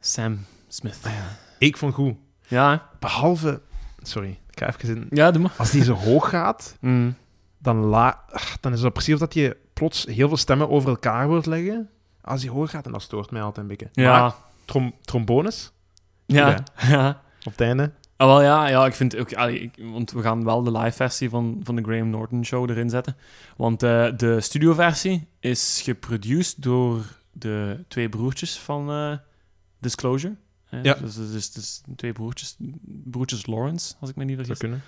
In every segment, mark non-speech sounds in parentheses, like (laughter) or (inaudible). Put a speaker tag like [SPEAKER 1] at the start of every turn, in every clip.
[SPEAKER 1] Sam Smith.
[SPEAKER 2] Ah, Ik vond goed.
[SPEAKER 1] Ja, hè?
[SPEAKER 2] Behalve... Sorry, ik ga even in...
[SPEAKER 1] ja doe maar.
[SPEAKER 2] Als die zo hoog gaat,
[SPEAKER 1] Mm.
[SPEAKER 2] dan, la... ah, dan is het precies of dat je plots heel veel stemmen over elkaar wilt leggen. Als die hoog gaat, en dat stoort mij altijd een beetje. Maar,
[SPEAKER 1] Ja.
[SPEAKER 2] trom- trombones,
[SPEAKER 1] Ja. (laughs) ja.
[SPEAKER 2] op het einde.
[SPEAKER 1] Ah, wel ja, ja, ik vind ook, allee, ik- want we gaan wel de live versie van, van de Graham Norton show erin zetten. Want eh, de studioversie is geproduced door de twee broertjes van eh, Disclosure. Hè,
[SPEAKER 2] Ja.
[SPEAKER 1] Dus, dus, dus, dus twee broertjes, broertjes Lawrence, als ik me niet
[SPEAKER 2] Zou
[SPEAKER 1] vergis.
[SPEAKER 2] kunnen.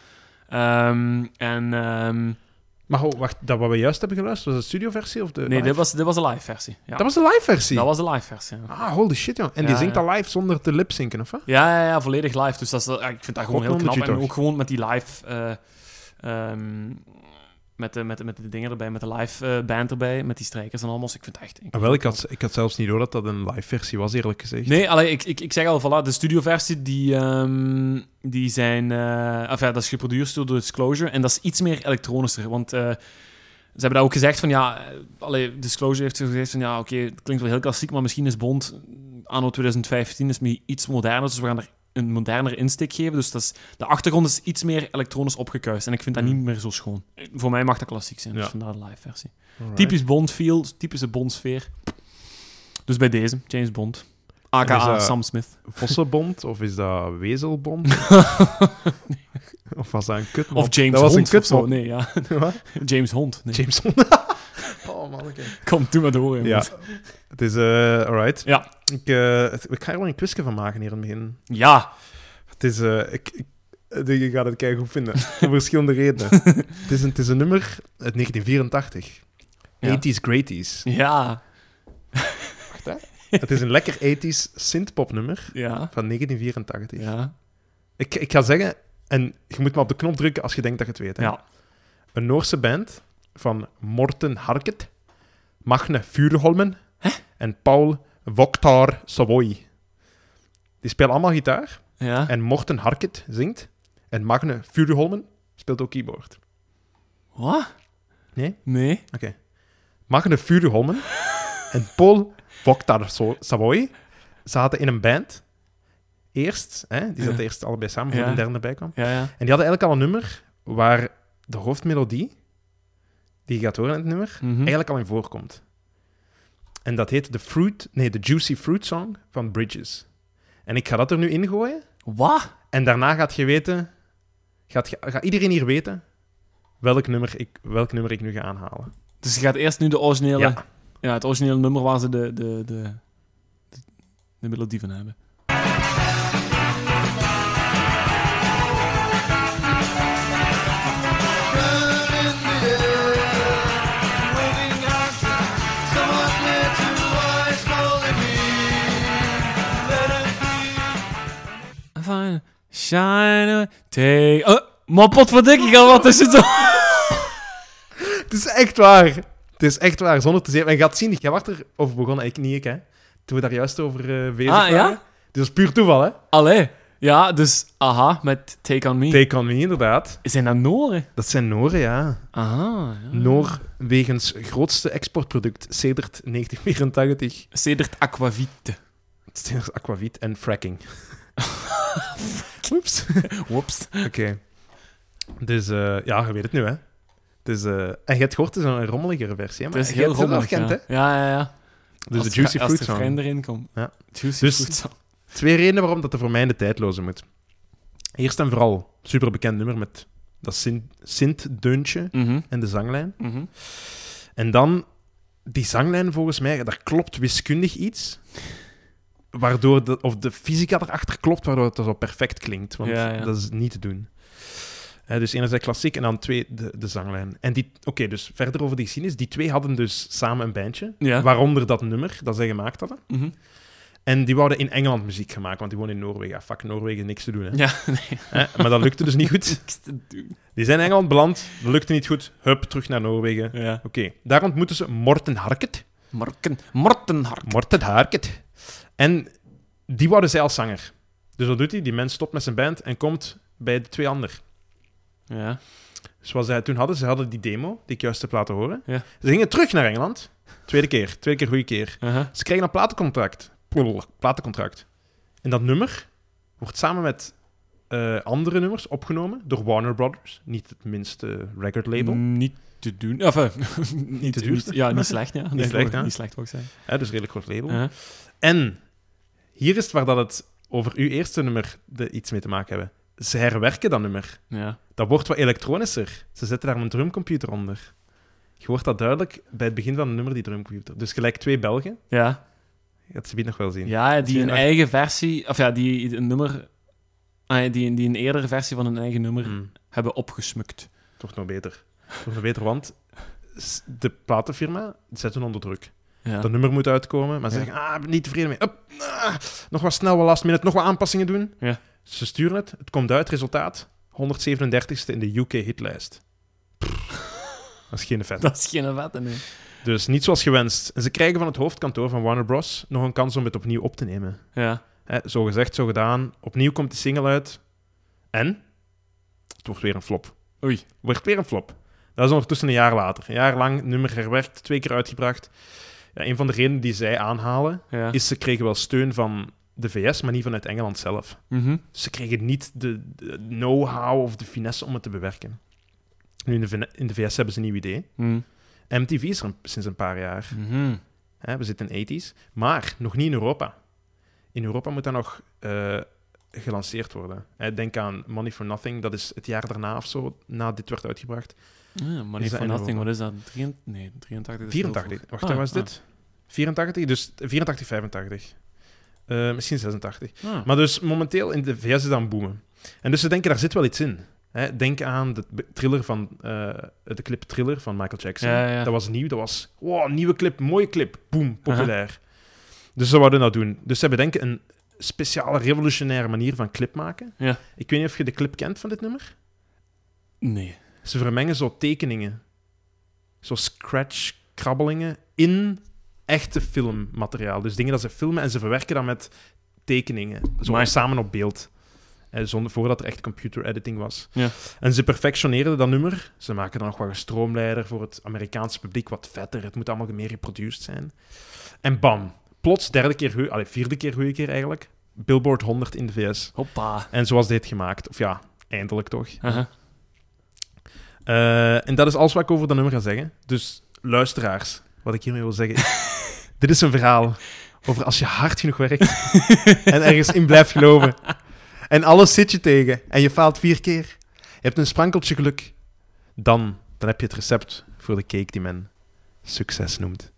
[SPEAKER 1] Ehm, en ehm,
[SPEAKER 2] Maar ho, wacht, dat wat we juist hebben geluisterd, was de studioversie of de
[SPEAKER 1] nee,
[SPEAKER 2] live?
[SPEAKER 1] dit was, dit was de live versie. Ja.
[SPEAKER 2] Dat was de live versie?
[SPEAKER 1] Dat was de live versie. Ja.
[SPEAKER 2] Ah, holy shit, joh. En die
[SPEAKER 1] Ja,
[SPEAKER 2] zingt
[SPEAKER 1] ja.
[SPEAKER 2] dat live zonder te lipzinken, of wat?
[SPEAKER 1] Ja, ja, ja, volledig live. Dus dat is, ja, ik vind dat gewoon heel knap.
[SPEAKER 2] Godnondertje
[SPEAKER 1] En
[SPEAKER 2] toch.
[SPEAKER 1] ook gewoon met die live... eh, ehm, met, de, met, de, met de dingen erbij, met de live eh, band erbij, met die strijkers en allemaal. Dus Ik vind het echt... ik-
[SPEAKER 2] Ah, wel, ik had, ik had zelfs niet door dat dat een live versie was, eerlijk gezegd.
[SPEAKER 1] Nee, allee, ik, ik, ik zeg al, voilà, de studioversie, die, ehm, die zijn... eh enfin, dat is geproduceerd door Disclosure. En dat is iets meer elektronischer, want... eh, ze hebben dat ook gezegd van ja, eh, allee, Disclosure heeft gezegd van ja, oké, het klinkt wel heel klassiek, maar misschien is Bond anno 2015 is misschien iets moderner, dus we gaan er een moderner insteek geven. Dus dat is, de achtergrond is iets meer elektronisch opgekuist en ik vind dat
[SPEAKER 2] Hmm.
[SPEAKER 1] niet meer zo schoon. Eh, Voor mij mag dat klassiek zijn, dus
[SPEAKER 2] Ja.
[SPEAKER 1] vandaar de live versie.
[SPEAKER 2] Alright.
[SPEAKER 1] Typisch Bond feel, typische Bond sfeer. Dus bij deze, James Bond. eh,
[SPEAKER 2] En is
[SPEAKER 1] AKA
[SPEAKER 2] dat-
[SPEAKER 1] Sam Smith.
[SPEAKER 2] Vossenbond, of is dat
[SPEAKER 1] (laughs)
[SPEAKER 2] Wezelbond? (laughs) of was dat een kutmop?
[SPEAKER 1] Of James
[SPEAKER 2] dat was
[SPEAKER 1] Hond
[SPEAKER 2] een
[SPEAKER 1] of zo.
[SPEAKER 2] kutmop.
[SPEAKER 1] Nee, ja. (laughs)
[SPEAKER 2] (laughs) Wat?
[SPEAKER 1] James Hond. Nee.
[SPEAKER 2] James
[SPEAKER 1] (laughs)
[SPEAKER 2] oh, manneke.
[SPEAKER 1] Kom, doe maar door.
[SPEAKER 2] Ja.
[SPEAKER 1] Ja.
[SPEAKER 2] Het is... eh alright.
[SPEAKER 1] Ja.
[SPEAKER 2] Ik, eh, het- ik ga er wel een quizje van maken hier in het begin.
[SPEAKER 1] ja.
[SPEAKER 2] Het is... eh, ik, ik, ik denk, je gaat het keigoed
[SPEAKER 1] (laughs)
[SPEAKER 2] vinden. Om verschillende redenen. het, is een, het is een nummer uit 1984.
[SPEAKER 1] Ja.
[SPEAKER 2] 80s Greaties.
[SPEAKER 1] Ja.
[SPEAKER 2] Het is een lekker 80s synthpopnummer
[SPEAKER 1] Ja.
[SPEAKER 2] van 1984.
[SPEAKER 1] Ja.
[SPEAKER 2] Ik, ik ga zeggen, en je moet maar op de knop drukken als je denkt dat je het weet. Hè?
[SPEAKER 1] Ja.
[SPEAKER 2] Een Noorse band van Morten Harket, Magne Vuurholmen en Paul Voktar Savoy. Die spelen allemaal gitaar
[SPEAKER 1] Ja.
[SPEAKER 2] en Morten Harket zingt en Magne Vuurholmen speelt ook keyboard.
[SPEAKER 1] Wat?
[SPEAKER 2] Nee?
[SPEAKER 1] Nee.
[SPEAKER 2] Magne
[SPEAKER 1] (laughs)
[SPEAKER 2] Vuurholmen en Paul Voktar So- Savoy zaten in een band. Eerst, hè, die zaten
[SPEAKER 1] Ja.
[SPEAKER 2] eerst allebei samen, voor
[SPEAKER 1] Ja.
[SPEAKER 2] de derde bij kwam.
[SPEAKER 1] Ja, ja.
[SPEAKER 2] En die hadden eigenlijk al een nummer waar de hoofdmelodie, die je gaat horen in het nummer,
[SPEAKER 1] Mhm.
[SPEAKER 2] eigenlijk al in voorkomt. En dat heet de Fruit, nee, de Juicy Fruit Song van Bridges. En ik ga dat er nu ingooien.
[SPEAKER 1] Wat?
[SPEAKER 2] En daarna gaat je weten, gaat, je- gaat iedereen hier weten welk nummer ik, welk nummer ik nu ga aanhalen.
[SPEAKER 1] Dus je gaat eerst nu de originele... Ja.
[SPEAKER 2] Ja.
[SPEAKER 1] het originele nummer waar ze de... de, de de- de melodie van hebben. Fine. Shine away, take... Oh, maar potverdikkie, gaat wat is het zo?
[SPEAKER 2] Het is echt waar. Het is echt waar, zonder te zeven. En je gaat zien, jij was erover begonnen, ik niet ik, hè. Toen we daar juist over eh bezig
[SPEAKER 1] Ah,
[SPEAKER 2] waren.
[SPEAKER 1] ja?
[SPEAKER 2] Dit is puur toeval, hè.
[SPEAKER 1] Allee. Ja, dus aha, met Take On Me.
[SPEAKER 2] Take On Me, inderdaad.
[SPEAKER 1] Zijn dat Noren?
[SPEAKER 2] Dat zijn Noren, ja.
[SPEAKER 1] Aha. Ja.
[SPEAKER 2] Noorwegens grootste exportproduct sedert (laughs) 1984.
[SPEAKER 1] Sedert Aquavite.
[SPEAKER 2] Sedert aquavit en (laughs) fracking. Oeps.
[SPEAKER 1] Whoops.
[SPEAKER 2] Oké. Dus eh, ja, je weet het nu, hè. Het is, eh, en je hebt gehoord, het is een rommeligere versie. hè,
[SPEAKER 1] Het
[SPEAKER 2] Maar
[SPEAKER 1] is
[SPEAKER 2] je
[SPEAKER 1] heel
[SPEAKER 2] hebt het wel
[SPEAKER 1] rommelig. Ja.
[SPEAKER 2] herkend,
[SPEAKER 1] ja, ja, ja.
[SPEAKER 2] hè. Dus
[SPEAKER 1] Als
[SPEAKER 2] de Juicy
[SPEAKER 1] er- als
[SPEAKER 2] Fruit
[SPEAKER 1] er
[SPEAKER 2] Song.
[SPEAKER 1] vreemd erin komt.
[SPEAKER 2] Ja.
[SPEAKER 1] Juicy
[SPEAKER 2] Dus-
[SPEAKER 1] Fruit Song.
[SPEAKER 2] Twee redenen waarom dat er voor mij in de tijdloze moet. Eerst en vooral, superbekend nummer met dat sint- sint-deuntje
[SPEAKER 1] Mhm,
[SPEAKER 2] en de zanglijn.
[SPEAKER 1] mhm.
[SPEAKER 2] En dan, die zanglijn volgens mij, daar klopt wiskundig iets. Waardoor de, of de fysica erachter klopt, waardoor het zo perfect klinkt. Want
[SPEAKER 1] Ja, ja.
[SPEAKER 2] dat is niet te doen. Eh, dus enerzijds klassiek en dan twee, de, de zanglijn. En die, oké, dus verder over die geschiedenis. Die twee hadden dus samen een bandje.
[SPEAKER 1] Ja.
[SPEAKER 2] Waaronder dat nummer dat zij gemaakt hadden.
[SPEAKER 1] mhm.
[SPEAKER 2] En die wouden in Engeland muziek gaan maken, want die woonden in Noorwegen. Ja, fuck, Noorwegen, niks te doen. Hè.
[SPEAKER 1] Ja, (laughs) nee.
[SPEAKER 2] Eh, maar dat lukte dus niet goed.
[SPEAKER 1] niks te doen.
[SPEAKER 2] Die zijn in Engeland beland, dat lukte niet goed. Hup, terug naar Noorwegen.
[SPEAKER 1] Ja.
[SPEAKER 2] Oké, daar ontmoeten ze Morten Harket.
[SPEAKER 1] Morten, Mortenhart.
[SPEAKER 2] Morten Harket. En die worden zij als zanger. Dus wat doet hij? Die mens stopt met zijn band en komt bij de twee anderen.
[SPEAKER 1] Ja.
[SPEAKER 2] Zoals zij toen hadden, ze hadden die demo die ik juist heb laten horen.
[SPEAKER 1] Ja.
[SPEAKER 2] Ze gingen terug naar Engeland. Tweede keer, tweede keer, goede keer.
[SPEAKER 1] Aha.
[SPEAKER 2] Ze kregen een platencontract. Poel, platencontract. En dat nummer wordt samen met eh, andere nummers opgenomen door Warner Brothers. Niet het minste record label.
[SPEAKER 1] Mm, Niet te doen. Of, eh, (laughs) niet
[SPEAKER 2] te duurste.
[SPEAKER 1] niet- ja, niet slecht.
[SPEAKER 2] (laughs)
[SPEAKER 1] Ja. Niet,
[SPEAKER 2] slecht, hè?
[SPEAKER 1] Niet slecht, Uh-huh. wou ik zeggen.
[SPEAKER 2] Hè, dus redelijk groot label.
[SPEAKER 1] Ja.
[SPEAKER 2] En hier is het waar dat het over uw eerste nummer de, iets mee te maken hebben. Ze herwerken dat nummer.
[SPEAKER 1] Ja.
[SPEAKER 2] Dat wordt wat elektronischer. Ze zetten daar een drumcomputer onder. Je hoort dat duidelijk bij het begin van het nummer, die drumcomputer. Dus gelijk twee Belgen.
[SPEAKER 1] Ja.
[SPEAKER 2] Je gaat ze nog wel zien.
[SPEAKER 1] ja, die een
[SPEAKER 2] Nog-
[SPEAKER 1] eigen versie... Of ja, die een nummer... ah, die, die een eerdere versie van hun eigen nummer
[SPEAKER 2] Hmm.
[SPEAKER 1] hebben opgesmukt.
[SPEAKER 2] Het wordt nog beter. Het wordt nog beter, want s- de platenfirma zet hun onder druk.
[SPEAKER 1] Ja.
[SPEAKER 2] Dat nummer moet uitkomen, maar ze
[SPEAKER 1] Ja.
[SPEAKER 2] zeggen, ah, ik ben niet tevreden mee. Up, ah, nog wat snel, wat last minute, nog wat aanpassingen doen.
[SPEAKER 1] Ja.
[SPEAKER 2] Ze sturen het, het komt uit, resultaat, 137ste in de UK-hitlijst. (laughs) Dat is
[SPEAKER 1] (laughs)
[SPEAKER 2] geen vet.
[SPEAKER 1] Dat is geen vette, nee.
[SPEAKER 2] Dus niet zoals gewenst. En ze krijgen van het hoofdkantoor van Warner Bros. nog een kans om het opnieuw op te nemen.
[SPEAKER 1] Ja.
[SPEAKER 2] Hè, zo gezegd, zo gedaan. Opnieuw komt de single uit. En? Het wordt weer een flop.
[SPEAKER 1] Oei.
[SPEAKER 2] Wordt weer een flop. Dat is ondertussen een jaar later. Een jaar lang, nummer herwerkt, twee keer uitgebracht. Ja, een van de redenen die zij aanhalen,
[SPEAKER 1] Ja.
[SPEAKER 2] is ze kregen wel steun van de VS, maar niet vanuit Engeland zelf.
[SPEAKER 1] Mhm.
[SPEAKER 2] Ze kregen niet de, de know-how of de finesse om het te bewerken. Nu, in de, Vene- in de VS hebben ze een nieuw idee.
[SPEAKER 1] Mhm.
[SPEAKER 2] MTV is er een- sinds een paar jaar.
[SPEAKER 1] Mhm.
[SPEAKER 2] Hè, we zitten in de 80s. Maar nog niet in Europa. In Europa moet dat nog eh, gelanceerd worden. Hè, denk aan Money for Nothing. Dat is het jaar daarna of zo, na dit werd uitgebracht.
[SPEAKER 1] Ah, Ja, Money
[SPEAKER 2] Is dat
[SPEAKER 1] for
[SPEAKER 2] in
[SPEAKER 1] Nothing,
[SPEAKER 2] Europa?
[SPEAKER 1] wat is dat? 83? Nee, 83 is heel
[SPEAKER 2] 84.
[SPEAKER 1] vroeg.
[SPEAKER 2] Wacht,
[SPEAKER 1] Ah,
[SPEAKER 2] waar was
[SPEAKER 1] ah,
[SPEAKER 2] dit? 84, dus 84, 85. Eh, misschien 86.
[SPEAKER 1] ah.
[SPEAKER 2] Maar dus momenteel in de VS is dat aan het boomen. En dus ze denken, daar zit wel iets in. Hè, denk aan de b- thriller van, eh, de clip Thriller van Michael Jackson.
[SPEAKER 1] Ja, ja.
[SPEAKER 2] Dat was nieuw, dat was... Wow, nieuwe clip, mooie clip. Boom, populair. Dus ze wouden dat doen. Dus ze bedenken een speciale, revolutionaire manier van clip maken.
[SPEAKER 1] Ja.
[SPEAKER 2] Ik weet niet of je de clip kent van dit nummer.
[SPEAKER 1] Nee.
[SPEAKER 2] Ze vermengen zo tekeningen. Zo scratch-krabbelingen in echte filmmateriaal. Dus dingen dat ze filmen en ze verwerken dat met tekeningen. Zo
[SPEAKER 1] Maar-
[SPEAKER 2] samen op beeld. Eh, zonder, voordat er echt computer editing was.
[SPEAKER 1] Ja.
[SPEAKER 2] En ze perfectioneerden dat nummer. Ze maken dan nog wat gestroomlijder voor het Amerikaanse publiek. Wat vetter. Het moet allemaal meer geproduced zijn. En bam. Plots derde keer, goeie- allee, vierde keer goede keer eigenlijk. Billboard 100 in de VS.
[SPEAKER 1] Hoppa.
[SPEAKER 2] En zoals dit gemaakt. Of ja, eindelijk toch.
[SPEAKER 1] Aha.
[SPEAKER 2] Eh, en dat is alles wat ik over dat nummer ga zeggen. Dus luisteraars, wat ik hiermee wil zeggen is... dit is een verhaal over als je hard genoeg werkt en ergens in blijft geloven. En alles zit je tegen en je faalt vier keer. Je hebt een sprankeltje geluk. Dan, dan heb je het recept voor de cake die men succes noemt.